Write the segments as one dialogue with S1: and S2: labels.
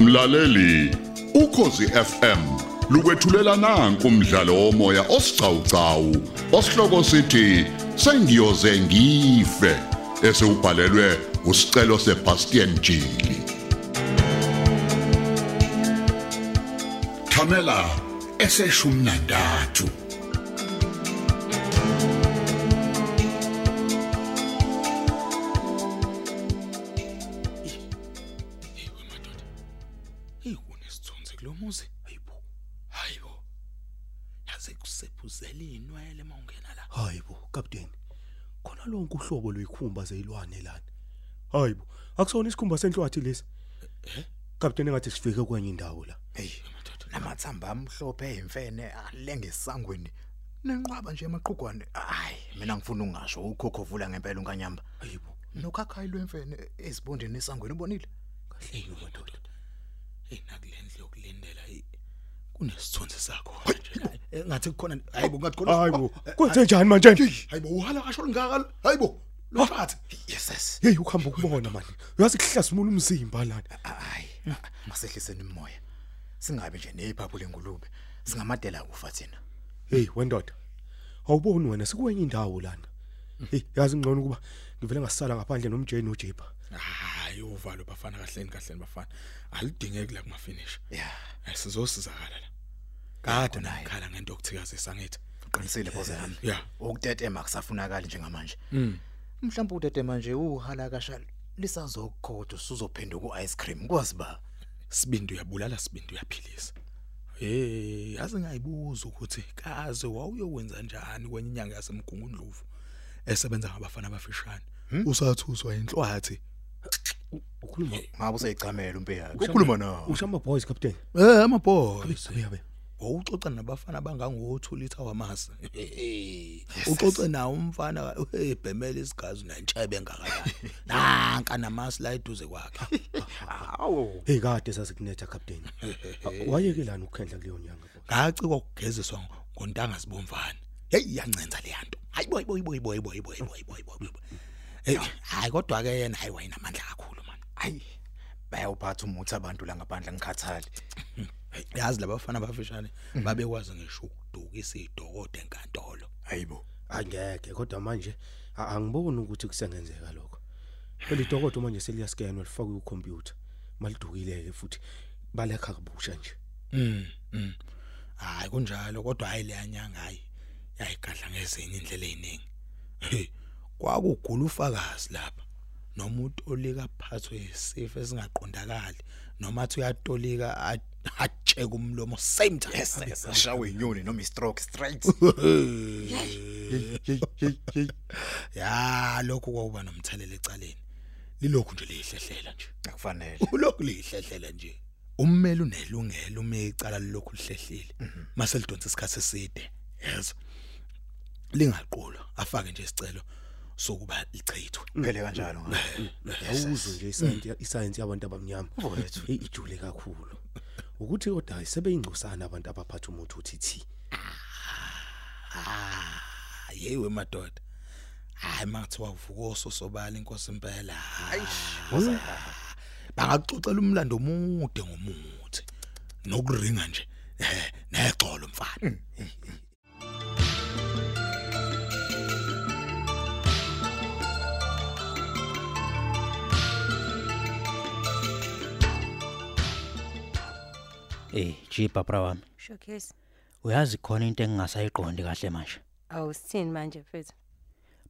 S1: Mlaleli, ukhosi FM lukwethulela nanku umdlalo womoya osiqhawqhawo osihloko sithi sengiyoze ngife esubhalelwe usicelo seBastian Jili. Thamela eseshumi nantathu
S2: Ewe madoda. Hey kunesithunzi kulomuzi. Hayibo. Hayibo. Yaze kusephuzela inwele mawungena la.
S3: Hayibo, Captain. Khona lonke uhlobo lwekhumba zeyilwane lana. Hayibo, akusona isikhumba senhlwathi lesi.
S2: Eh,
S3: Captain engathi sifike kwenye indawo la.
S4: Hey, namathamba amhlophe emfene alengesangweni. Nenqwaba nje emaqhugwane. Hayi, mina ngifuna ungasho ukhokhovula ngempela unkanyamba.
S3: Hayibo,
S4: Nokhakhayi lwemfene ezibondeni esangweni ubonile?
S3: kahle yini madoda?
S2: Hey nakulendle yokulindela hey. Kunesithunzi sakho nje.
S4: Ngathi kukhona Oh, hayibo ngathi
S3: Hayibo, kwenze njani manje?
S4: Hayibo uhala kasho lingaka hayibo. Lophathi. Yes yes.
S3: Hey ukuhamba ukubona manje. Uyazi kuhlasimula umzimba lana.
S4: Hayi, masehliseni imimoya. Singabe nje nephaphu lengulube. Singamadela kufa thina.
S3: Hey wendoda. Awuboni wena sikwenye indawo lana.
S2: Hmm.
S3: Hey yazi ngcono ukuba ngivele ngasala ngaphandle nomjeni nojepa.
S2: Hayi uvalo bafana kahleni kahleni bafana. Alidingeki la kuma finish.
S4: Yeah,
S2: Eh, Sizosizakala la.
S4: Kade naye.
S2: Nakhala ngento okuthikazisa ngithi.
S4: uqinisile boze yami.
S2: Yeah.
S4: ukutetema kusafunakali njengamanje
S2: Hmm.
S4: mhlawumbe utetema nje uhala kasha lisazokhoda usuzophenduka ku-ice cream kwazi ba
S2: Sibindi uyabulala sibindi uyaphilisa. Hey, yazi ngayibuza ukuthi kaze wawuyowenza njani kwenye inyanga yasemgungundlovu esebenza ngabafana abafishane. Usathuswa inhlwathi.
S3: Ukhuluma
S4: ngabe useyicamela umpeyaka ukhuluma nawo
S3: ushama boys Captain.
S2: Eh, amabhola.
S3: Sibuyabe.
S2: wawuxoxa nabafana abangango2 litha wamasi uxoxe nawo umfana ebhemela isigazi nentshebe engakanani nanka namasi la eduze kwakhe
S4: awu
S3: Hey kade sasikunetha Captain. Wayeke lana ukukhendla kuleyo nyanga.
S2: ngacikwa ukugeziswa ngontanga sibomvana hey iyancenza le yanto hayibo hayibo hayibo hayibo hayibo hayibo hayibo hayibo hayibo hey hayi kodwa ke yena hayi wayenamandla kakhulu man
S4: hayi bayawuphatha umuthi abantu la ngaphandle ngikhathali
S2: Hey, yazi labafana abafishane babekwazi ngisho ukudukisa idokodo enkantolo
S4: hayibo
S3: angeke kodwa manje a- angiboni ukuthi kusengenzeka lokho phela idokodo manje seliyaskenwa lifakwe kucomputer malidukile ke futhi balekha kabusha nje
S2: Mm. mm. Hayi kunjalo kodwa hayi le anyanga hayi yayigadla ngezinye indlela eziningi. Kwakugula ufakazi lapha. Nomuntu olika phathwe isifo esingaqondakali noma athi uyatolika a- atsheka umlomo same time.
S4: yes ashawe inyoni noma i-stroke straight
S2: Ya lokhu kwauba nomthelelo ecaleni. Lilokhu nje lihlehlela nje.
S4: akufanele
S2: Ulokhu lihlehlela nje. Ummeli unelungelo uma icala lokhu lihlehlile. Mase lidonsa isikhathi eside. Yezo. Lingaqulwa afake nje isicelo sokuba lichithwe.
S4: kuphele kanjalo ngayo
S3: awuzwe nje iscience iscience yabantu abamnyama
S4: Mfowethu.
S3: I- ijule kakhulu ukuthi kodwa sebeyingcosana abantu abaphatha umuthi uthi thi
S2: Hayewe madoda. Ah, Hayi mathi wavuka ososobala inkosi impela.
S4: Woza-
S2: Bangaxoxela umlando omude ngomuthi. Nokuringa nje. Eh, nexolo mfana.
S5: Eh, jipa bra wami.
S6: Showcase.
S5: Uyazi khona into engingasayiqondi kahle manje.
S6: Awusini manje mfethu.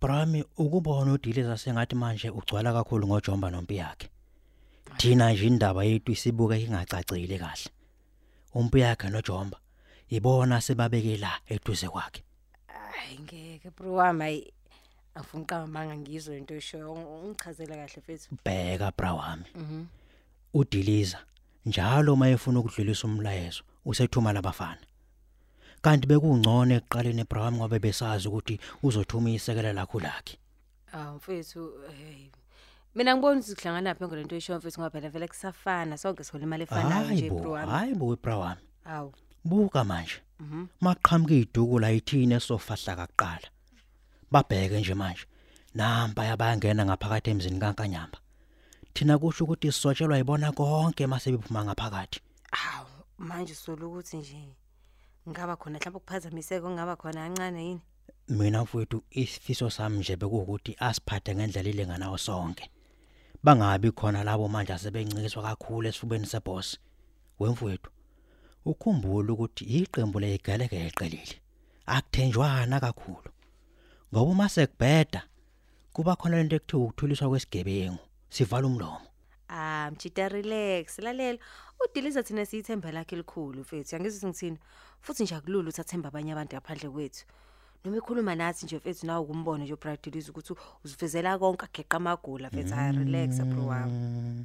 S5: Bra wami ukubona udiliza sengathi manje ugcwala kakhulu ngojomba nompi yakhe. Thina nje indaba yethu isibuke ingacacile kahle. Umpi yakhe nojomba ibona sebabeke la eduze kwakhe.
S6: Hayi ngeke bro wami hayi afuna uqamba ngizwe into eshoyo ungichazele kahle mfethu.
S5: Bheka bra wami. Mhm. Udiliza njalo mayefuna ukudlulisa umlayezo usethuma labafana. Kanti bekungcono ekuqaleni bra wami ngoba besazi ukuthi uzothuma isekela lakho lakhe.
S6: Aw mfethu hey. Mina ngibona ukuthi kuhlangana phe ngolento eshoyo mfethu ngoba phela vele kusafana sonke sihola imali efanayo nje bro wami.
S5: hayi bo bra wami.
S6: Aw
S5: buka manje maqhamuka iduku la ithini esofahla kaqala babheke nje manje namba yabangena ngaphakathi emzini kaNkanyamba thina kusho ukuthi sisotshelwa yibona konke masebephuma ngaphakathi
S6: hawu manje solo ukuthi nje ngaba khona mhlawumbe ukuphazamiseka ongaba khona kancane yini
S5: mina mfowethu isifiso sami nje bekuwukuthi asiphathe ngendlela elinganayo sonke bangabi khona labo manje asebencikiswa kakhulu esifubeni seboss wemfowethu ukhumbule ukuthi iqembu leyigaleke eqelile akuthenjwana kakhulu ngoba uma sekubheda kuba khona lento ekuthiwa ukuthuliswa kwesigebengu sivala umlomo
S6: ah mchita relax lalela udiliza thina siyithemba lakhe elikhulu mfethu yangizwe ngithini futhi nje akulula uthathemba abanye abantu ngaphandle kwethu noma ekhuluma nathi nje mfethu nawe kumbono nje ubright diliza ukuthi uzivezela konke ageqa amagula mfethu hayi relax bro wami
S5: Mm,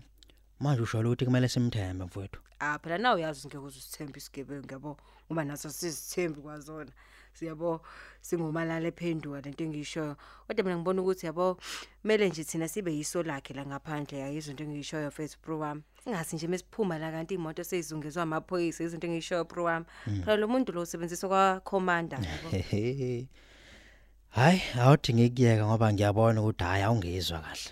S5: manje usho ukuthi kumele simthembe mfowethu
S6: ah phela nawe uyazi ngeke uzisithembe isigebengu yabo ngoba naso sizithembi kwazona siyabo singomalala ephenduka lento engishoyo kodwa mina ngibona ukuthi yabo kumele nje thina sibe yiso lakhe la ngaphandle yayizo into engishoyo fethu bro wami ingasi nje mesiphuma la kanti imoto seyizungezwe amaphoyisa izinto engishoyo bro wami phela lo muntu lo usebenziswa kwakhomanda yabo
S5: Hehe. Hayi, awuthi ngikuyeka ngoba ngiyabona ukuthi hayi awungizwa kahle.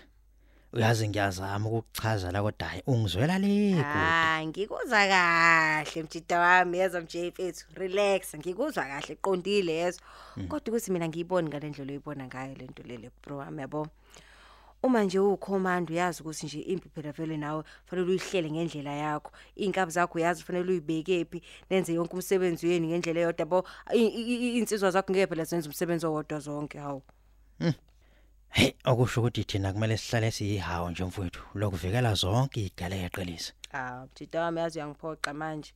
S5: Uyazi ngiyazama ukukuchaza la kodwa hayi ungizwela leku.
S6: hayi Ah, ngikuzwa kahle mjida wami yezwa mj fethu relax ngikuzwa kahle qondile yezwa kodwa ukuthi mina ngiyiboni ngale ndlela oyibona ngayo le nto lele bro wami yabo uma nje uwukhomanda uyazi ukuthi nje impi phela vele nawe fanele uyihlele ngendlela yakho iy'nkabi zakho uyazi fanele uyibekephi nenze yonke umsebenzi wenu ngendlela eyodwa yabo I- i- i- iy'nsizwa zakho ngeke phela zenze umsebenzi owodwa zonke hawu
S5: Hey, akusho ukuthi thina kumele sihlale siyihawo nje mfowethu lokuvikela zonke igale yaqelisa.
S6: Ah, mjida wami yazi uyangiphoqa manje.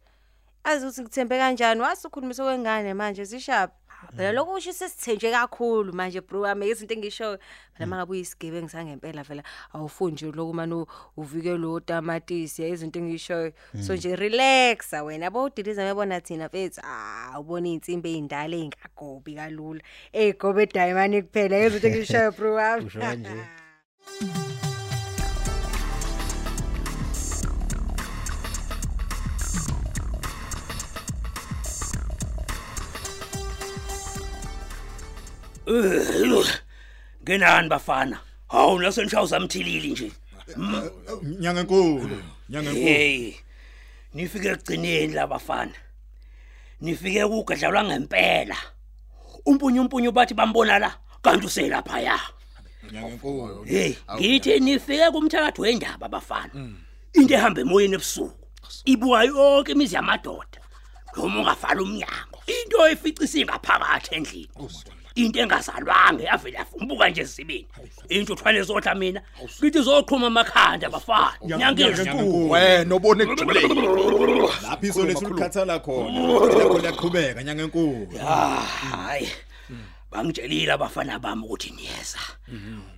S6: Azi ukuthi ngithembe kanjani wase ukhulumisa kwengane manje sishap. Phela lokho usho sesithenjwe kakhulu manje bro wami izinto engisho phela mangabe uyisigebengu ngisangempela phela awufundi nje lokho manje uvikele lo tamatisi izinto engisho so nje relaxa wena bo udiliza ngiyabona thina mfethu ah ubona izinsimbi ezindala ezingagobi kalula ezigobe diamond kuphela izinto engisho bro wami.
S5: Usho kanje.
S7: Hello. Ngenani bafana? Hawu nasentshawu zamthilili nje.
S2: Nyanga enkulu, nyanga enkulu.
S7: Hey. Nifike ekugcineni la bafana. Nifike ukugedlalwa ngempela. Umpunyu umpunyu bathi bambona la kanti uselapha ya.
S2: Nyanga enkulu.
S7: Hey, ngithi nifike kumthakathi wendaba bafana. Into ehamba emoyeni ebusuku. Ibuka yonke imizi yamadoda. Noma ungavala umnyango. Into eficisi ngaphakathi endlini. Into engazalwanga yavela yafumbuka nje sibini. Into uthwale zodla mina. Ngithi zoqhuma amakhanda bafana. Nyangezinkulu.
S2: Wena obone ejule. Laphi iso lethi ukukhathala khona. Lokho liyaqhubeka nyanga enkulu.
S7: Ah, hayi bangitshelile abafana bami ukuthi niyeza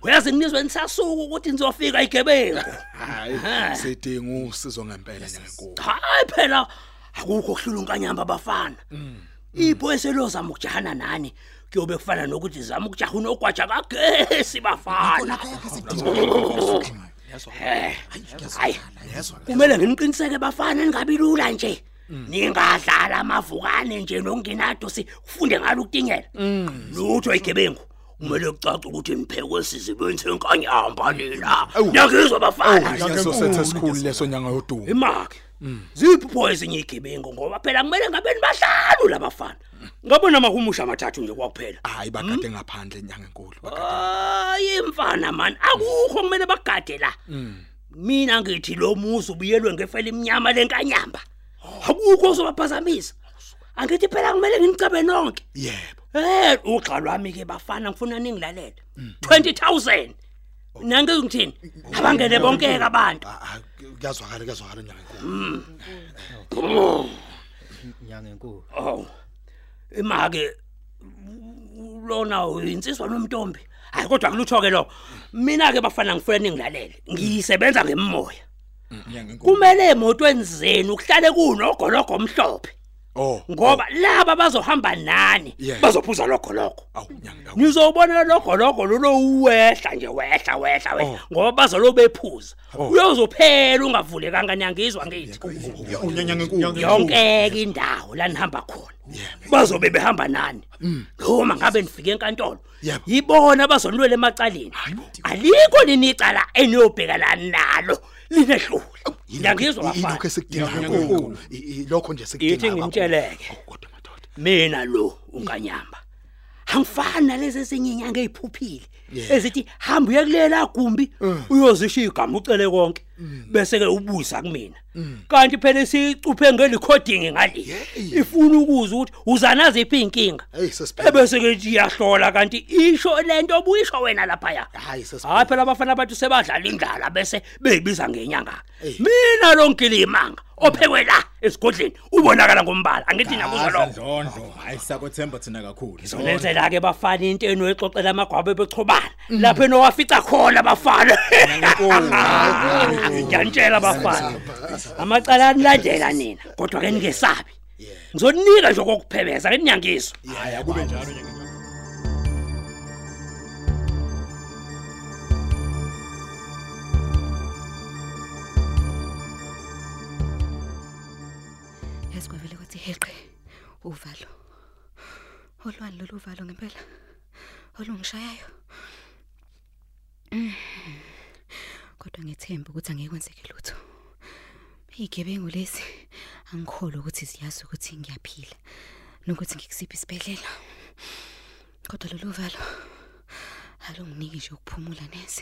S7: uyazi nginizwe nisasuka ukuthi nizofika igebengu
S2: Hayi, sidinga usizo ngempela nyanga enkulu.
S7: hayi phela akukho kuhlula unkanyamba abafana
S2: Mm.
S7: iphoyisa elozama ukujahana nani kuyobe kufana nokuthi zama ukujaha unogwaja kagesi bafana Eh, hayi kumele nginiqiniseke bafana ningabi lula nje ningadlala amavukane nje nokungenadosi ufunde ngalo ukutingela lutho igebengu kumele kucace ukuthi niphekwe sizibeni senkanyamba nina ngiyakizwa bafana
S2: Leso sethe sikhulu leso nyanga yodumo.
S7: imake zipho ezinye igebengu ngoba phela kumele ngabe nibahlanu labafana ngabona amahumusha amathathu nje kwakuphela
S2: Hayi bakade ngaphandle nyanga enkulu.
S7: hayi imfana mani akukho kumele bagade la mina ngithi lo muzi ubuyelwe ngefela imnyama lenkanyamba akukho ozobaphazamisa angithi phela kumele nginicabe nonke
S2: Yebo.
S7: Eh ugxa lwami ke bafana ngifuna ningilalele 20000 nange ngithini abangene bonke ke abantu
S2: Ah, kuyazwakala kuyazwakala nyanga enkulu.
S5: Nyanga enkulu.
S7: Oh. Imake lona uyinsizwa nomntombi. Hayi kodwa kulutho ke lo. Mina ke bafana ngifuna ningilalele. Ngisebenza ngemoya.
S2: Nyanga enkulu.
S7: Kumele emotweni zenu kuhlale kunogologo omhlophe
S2: Oh.
S7: ngoba laba bazohamba nani
S2: Yeah.
S7: bazophuza lokho lokho.
S2: Awu nyanga. awu.
S7: Nizobona lokho lokho lolo uwehla nje wehla wehla wehla ngoba bazolo bephuza. Uyozophela ungavulekanga nyangizwa ngithi.
S2: Awu, nyanga enkulu.
S7: Yonke ke indawo la nihamba khona. bazobe behamba nani noma ngabe nifike enkantolo
S2: Yebo.
S7: yibona abazonwela emacaleni alikho lini icala eniyobhekana nalo linehlule
S4: ilokho
S7: ngiyangizwa bafana
S4: esikudinga enkulu I- i- lokho nje
S7: yithi
S4: sikudinga
S7: ngimtsheleke
S4: kodwa madoda
S7: mina lo unkanyamba angifani nalezi ezinye inyanga eziphuphile ezithi hamba uye kulela gumbi uyozishiya igama ucele konke bese ke ubuza kumina kanti phela sicuphe ngelicording ngale ifuna ukuza ukuthi uzana ziphi inkinga
S4: Hey, sesiphela.
S7: ebese ke nje iyahlola kanti isho lento obuyisho wena lapha ya
S4: Hhayi, sesiphela.
S7: hayi phela abafana bathu sebadlala indlala bese beyibiza ngenyanga mina lo ngilimanga ophekwe la esigodleni ubonakala ngombala angithi nakuzwa lokho
S8: ndlondlo hayi siyakwethemba thina kakhulu
S7: Ngizolenzela ke bafana into enoyixoxela amagwabo ebechobana lapho enowafica khona bafana Ngiyantshela bafana amacala anilandela nina kodwa ke ningesabi Ngizoninika nje kokuphebeza ngininyangizwa
S8: hayi akube njalo nje
S9: yazi kwavele kwathi heqe uvalo olwani lolu uvalo ngempela olungishayayo Mm. kodwa ngethemba ukuthi angekwenzeki lutho iy'gebengu lezi angikholwa ukuthi ziyazi ukuthi ngiyaphila nokuthi ngikusiphi isibhedlela kodwa lolu valo alunginiki nje ukuphumula neze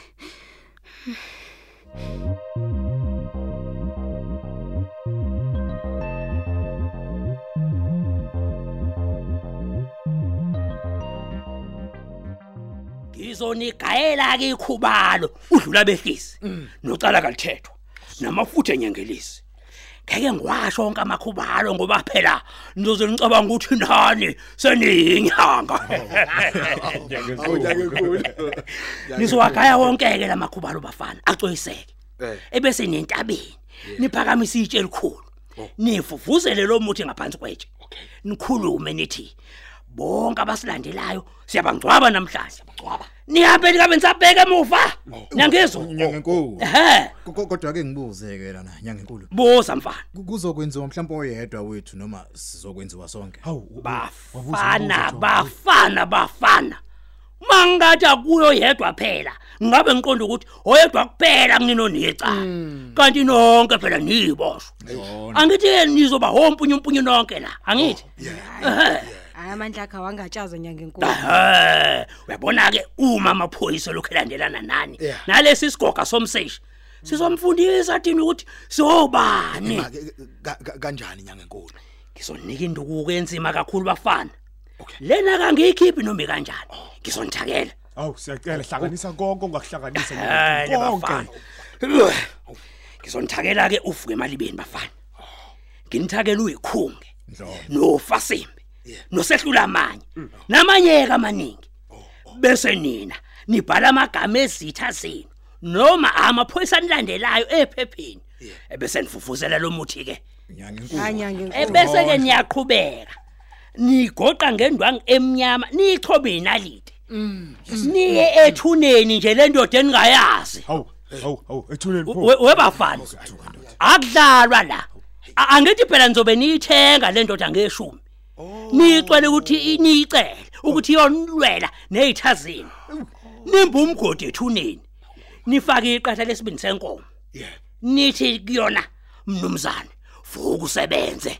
S7: Ngizonigayela ke ikhubalo udlula behlisi nocala kalithethwa namafuthe enyangelisi ngeke ngiwasho onke amakhubalo ngoba phela nizoze nicabanga ukuthi nani seniyinyanga nizowagaya wonke-ke la makhubalo bafana acoyiseke ebese nentabeni niphakamisa itshe elikhulu nivuvuzele lo muthi ngaphansi kwetshe nikhulume nithi bonke abasilandelayo siyabangcwaba namhlanje nihambe ningabe nisabheka emuva nangizwa
S4: Oh.
S8: ngenkulu
S7: ehe
S8: kodwa ke ngibuze ke lana nyanga enkulu
S7: buza mfana
S8: Ku- kuzokwenziwa mhlawumbe oyedwa wethu noma sizokwenziwa sonke
S4: Oh,
S7: bafana bafana bafana mangathi akuyo yedwa phela ngabe ngiqonda ukuthi oyedwa kuphela kuninonecala kanti nonke phela niyiboshwa angithi ke nizoba hompunye umpunye nonke la angithi
S6: hayi amandla akhe awangatshazwa nyangenkulu
S7: ehe uyabona ke uma amaphoyisa lokhu elandelana nani nalesi sigoga somseshi sizomfundisa thini ukuthi sobani
S4: Ake kanjani nyanga enkulu
S7: ngizonike induku enzima kakhulu bafana lena kangiyikhiphi noma kanjani ngizonithakela
S8: awu siyacela hlanganisa konke ongakuhlanganisa
S7: Hayi bafana. Ngizonithakela ke uvuke emalibeni bafana. Nginithakela uyikhunge. Nofasimbe. Nosehlula amanye. Namanyeka amaningi. Bese nina nibhala amagama ezitha zenu noma amaphoyisa nilandelayo ephepheni. Ebese nifufuzela lo muthi ke.
S8: nyanga
S6: hayi
S8: enkulu
S6: nyangenkulu
S7: Ebese ke niyaqhubeka. Nigoqa ngendwangu emnyama, niyichobe inalite. Niye ethuneni nje lendoda eningayazi.
S8: awu awu awu ethuleni pho
S7: We- webafana akudlalwa la A- angithi phela nizobe niyithenga le ndoda ngeshumi niyicele ukuthi i- niyicele ukuthi iyonilwela nezithazini nimba umgodi ethuneni nifake iqatha lesibindi senkomo nithi kuyona mnumzane vuka usebenze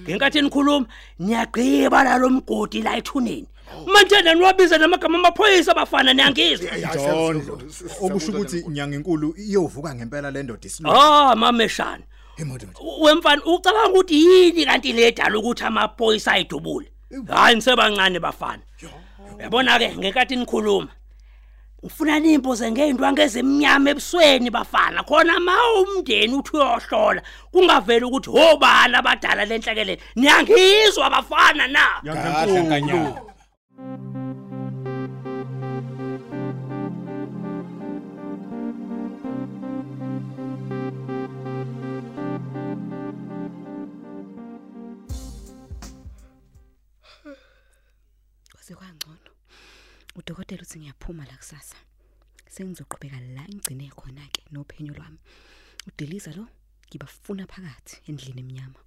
S7: ngenkathi nikhuluma niyagqiba lalo mgodi la ethuneni manje naniwabize namagama amaphoyisa bafana niyangizwa
S8: ndlondlo okusho ukuthi nyanga enkulu iyovuka ngempela le ndoda isilo
S7: ah mameshana
S8: emadoda
S7: wemfana ucabanga ukuthi yini kanti ledala ukuthi amaphoyisa ayidubule hayi nisebancane bafana uyabona ke ngenkathi nikhuluma ngifuna nimpoze ngeindwangu ezimnyama ebusweni bafana khona ma umndeni uthi uyohlola kungaveli ukuthi hobani abadala lenhlekelele niyangizwa bafana na
S8: nyanga enkulu
S9: kwaze kwangcono udokotela uthi ngiyaphuma la kusasa sengizoqhubeka la ngigcine khona ke nophenyo lwami udeliza lo ngibafuna phakathi endlini emnyama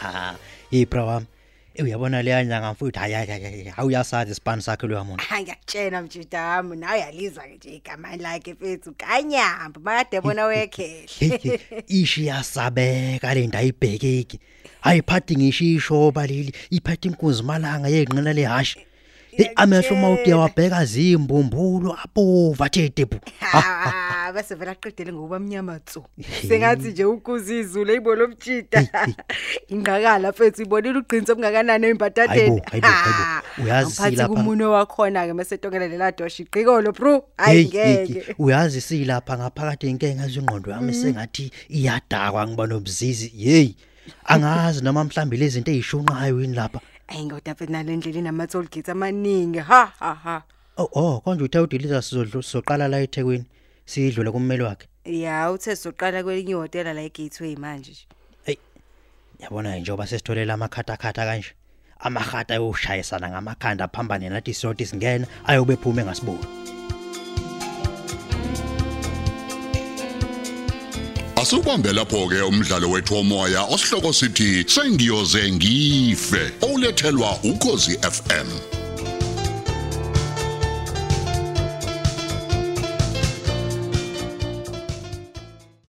S5: ha ibra Ah, wami Eh, uyabona leya nyanga mfowethu hayi hayi, hayi hayi, awuyasazi isipani sakhe loya muntu
S6: angiyakutshena mjudami nawe uyalizwa ke nje igama lakhe fethu kanyamba makade bona
S5: Hey,
S6: wekhehle
S5: hey, ishi yasabeka le ndayibhekeki ayiphathi ngishisho balili iphatha inkunzi malanga yenqina lehashi Hey, amehlo mawuthi yawabheka zimbumbulo abova thedebu
S6: Ah, bese vela aqedele ngokuba mnyama tso sengathi nje ukuza izulu eyibona omtshita ingqakala fethu ibonile ugqinisa obungakanani
S5: hayibo
S6: embatateni
S5: hayibo hayibo uyazi lapha
S6: kumunwe wakhona-ke mesetongele lela dosha igqikolo bru hayi
S5: Hey, hey, hey,
S6: ngeke
S5: uyazi silapha ngaphakathi inkenga ezingqondo yami
S6: Mm.
S5: sengathi iyadakwa ngiba nobzizi hey angazi noma mhlambi lezi zinto ezishunqayo yini lapha
S6: ayi ngoda fethu nale ndlela inama-toll gates amaningi ha ha ha
S5: oh oh konje uthe udiliza sizodlu- sizoqala la eThekwini sidlule kummeli wakhe
S6: ya uthe sizoqala kwelinye ihhotela la e-gateway manje nje
S5: yabona ke njengoba sesitholela amakhathakhatha kanje amahata ayoshayisana ngamakhanda phambane nathi siyothi singena ayobe phume ngasibulo
S1: Asukubambe lapho ke umdlalo wethu womoya osihloko sithi sengiyoze ngife olethelwa ukozi FM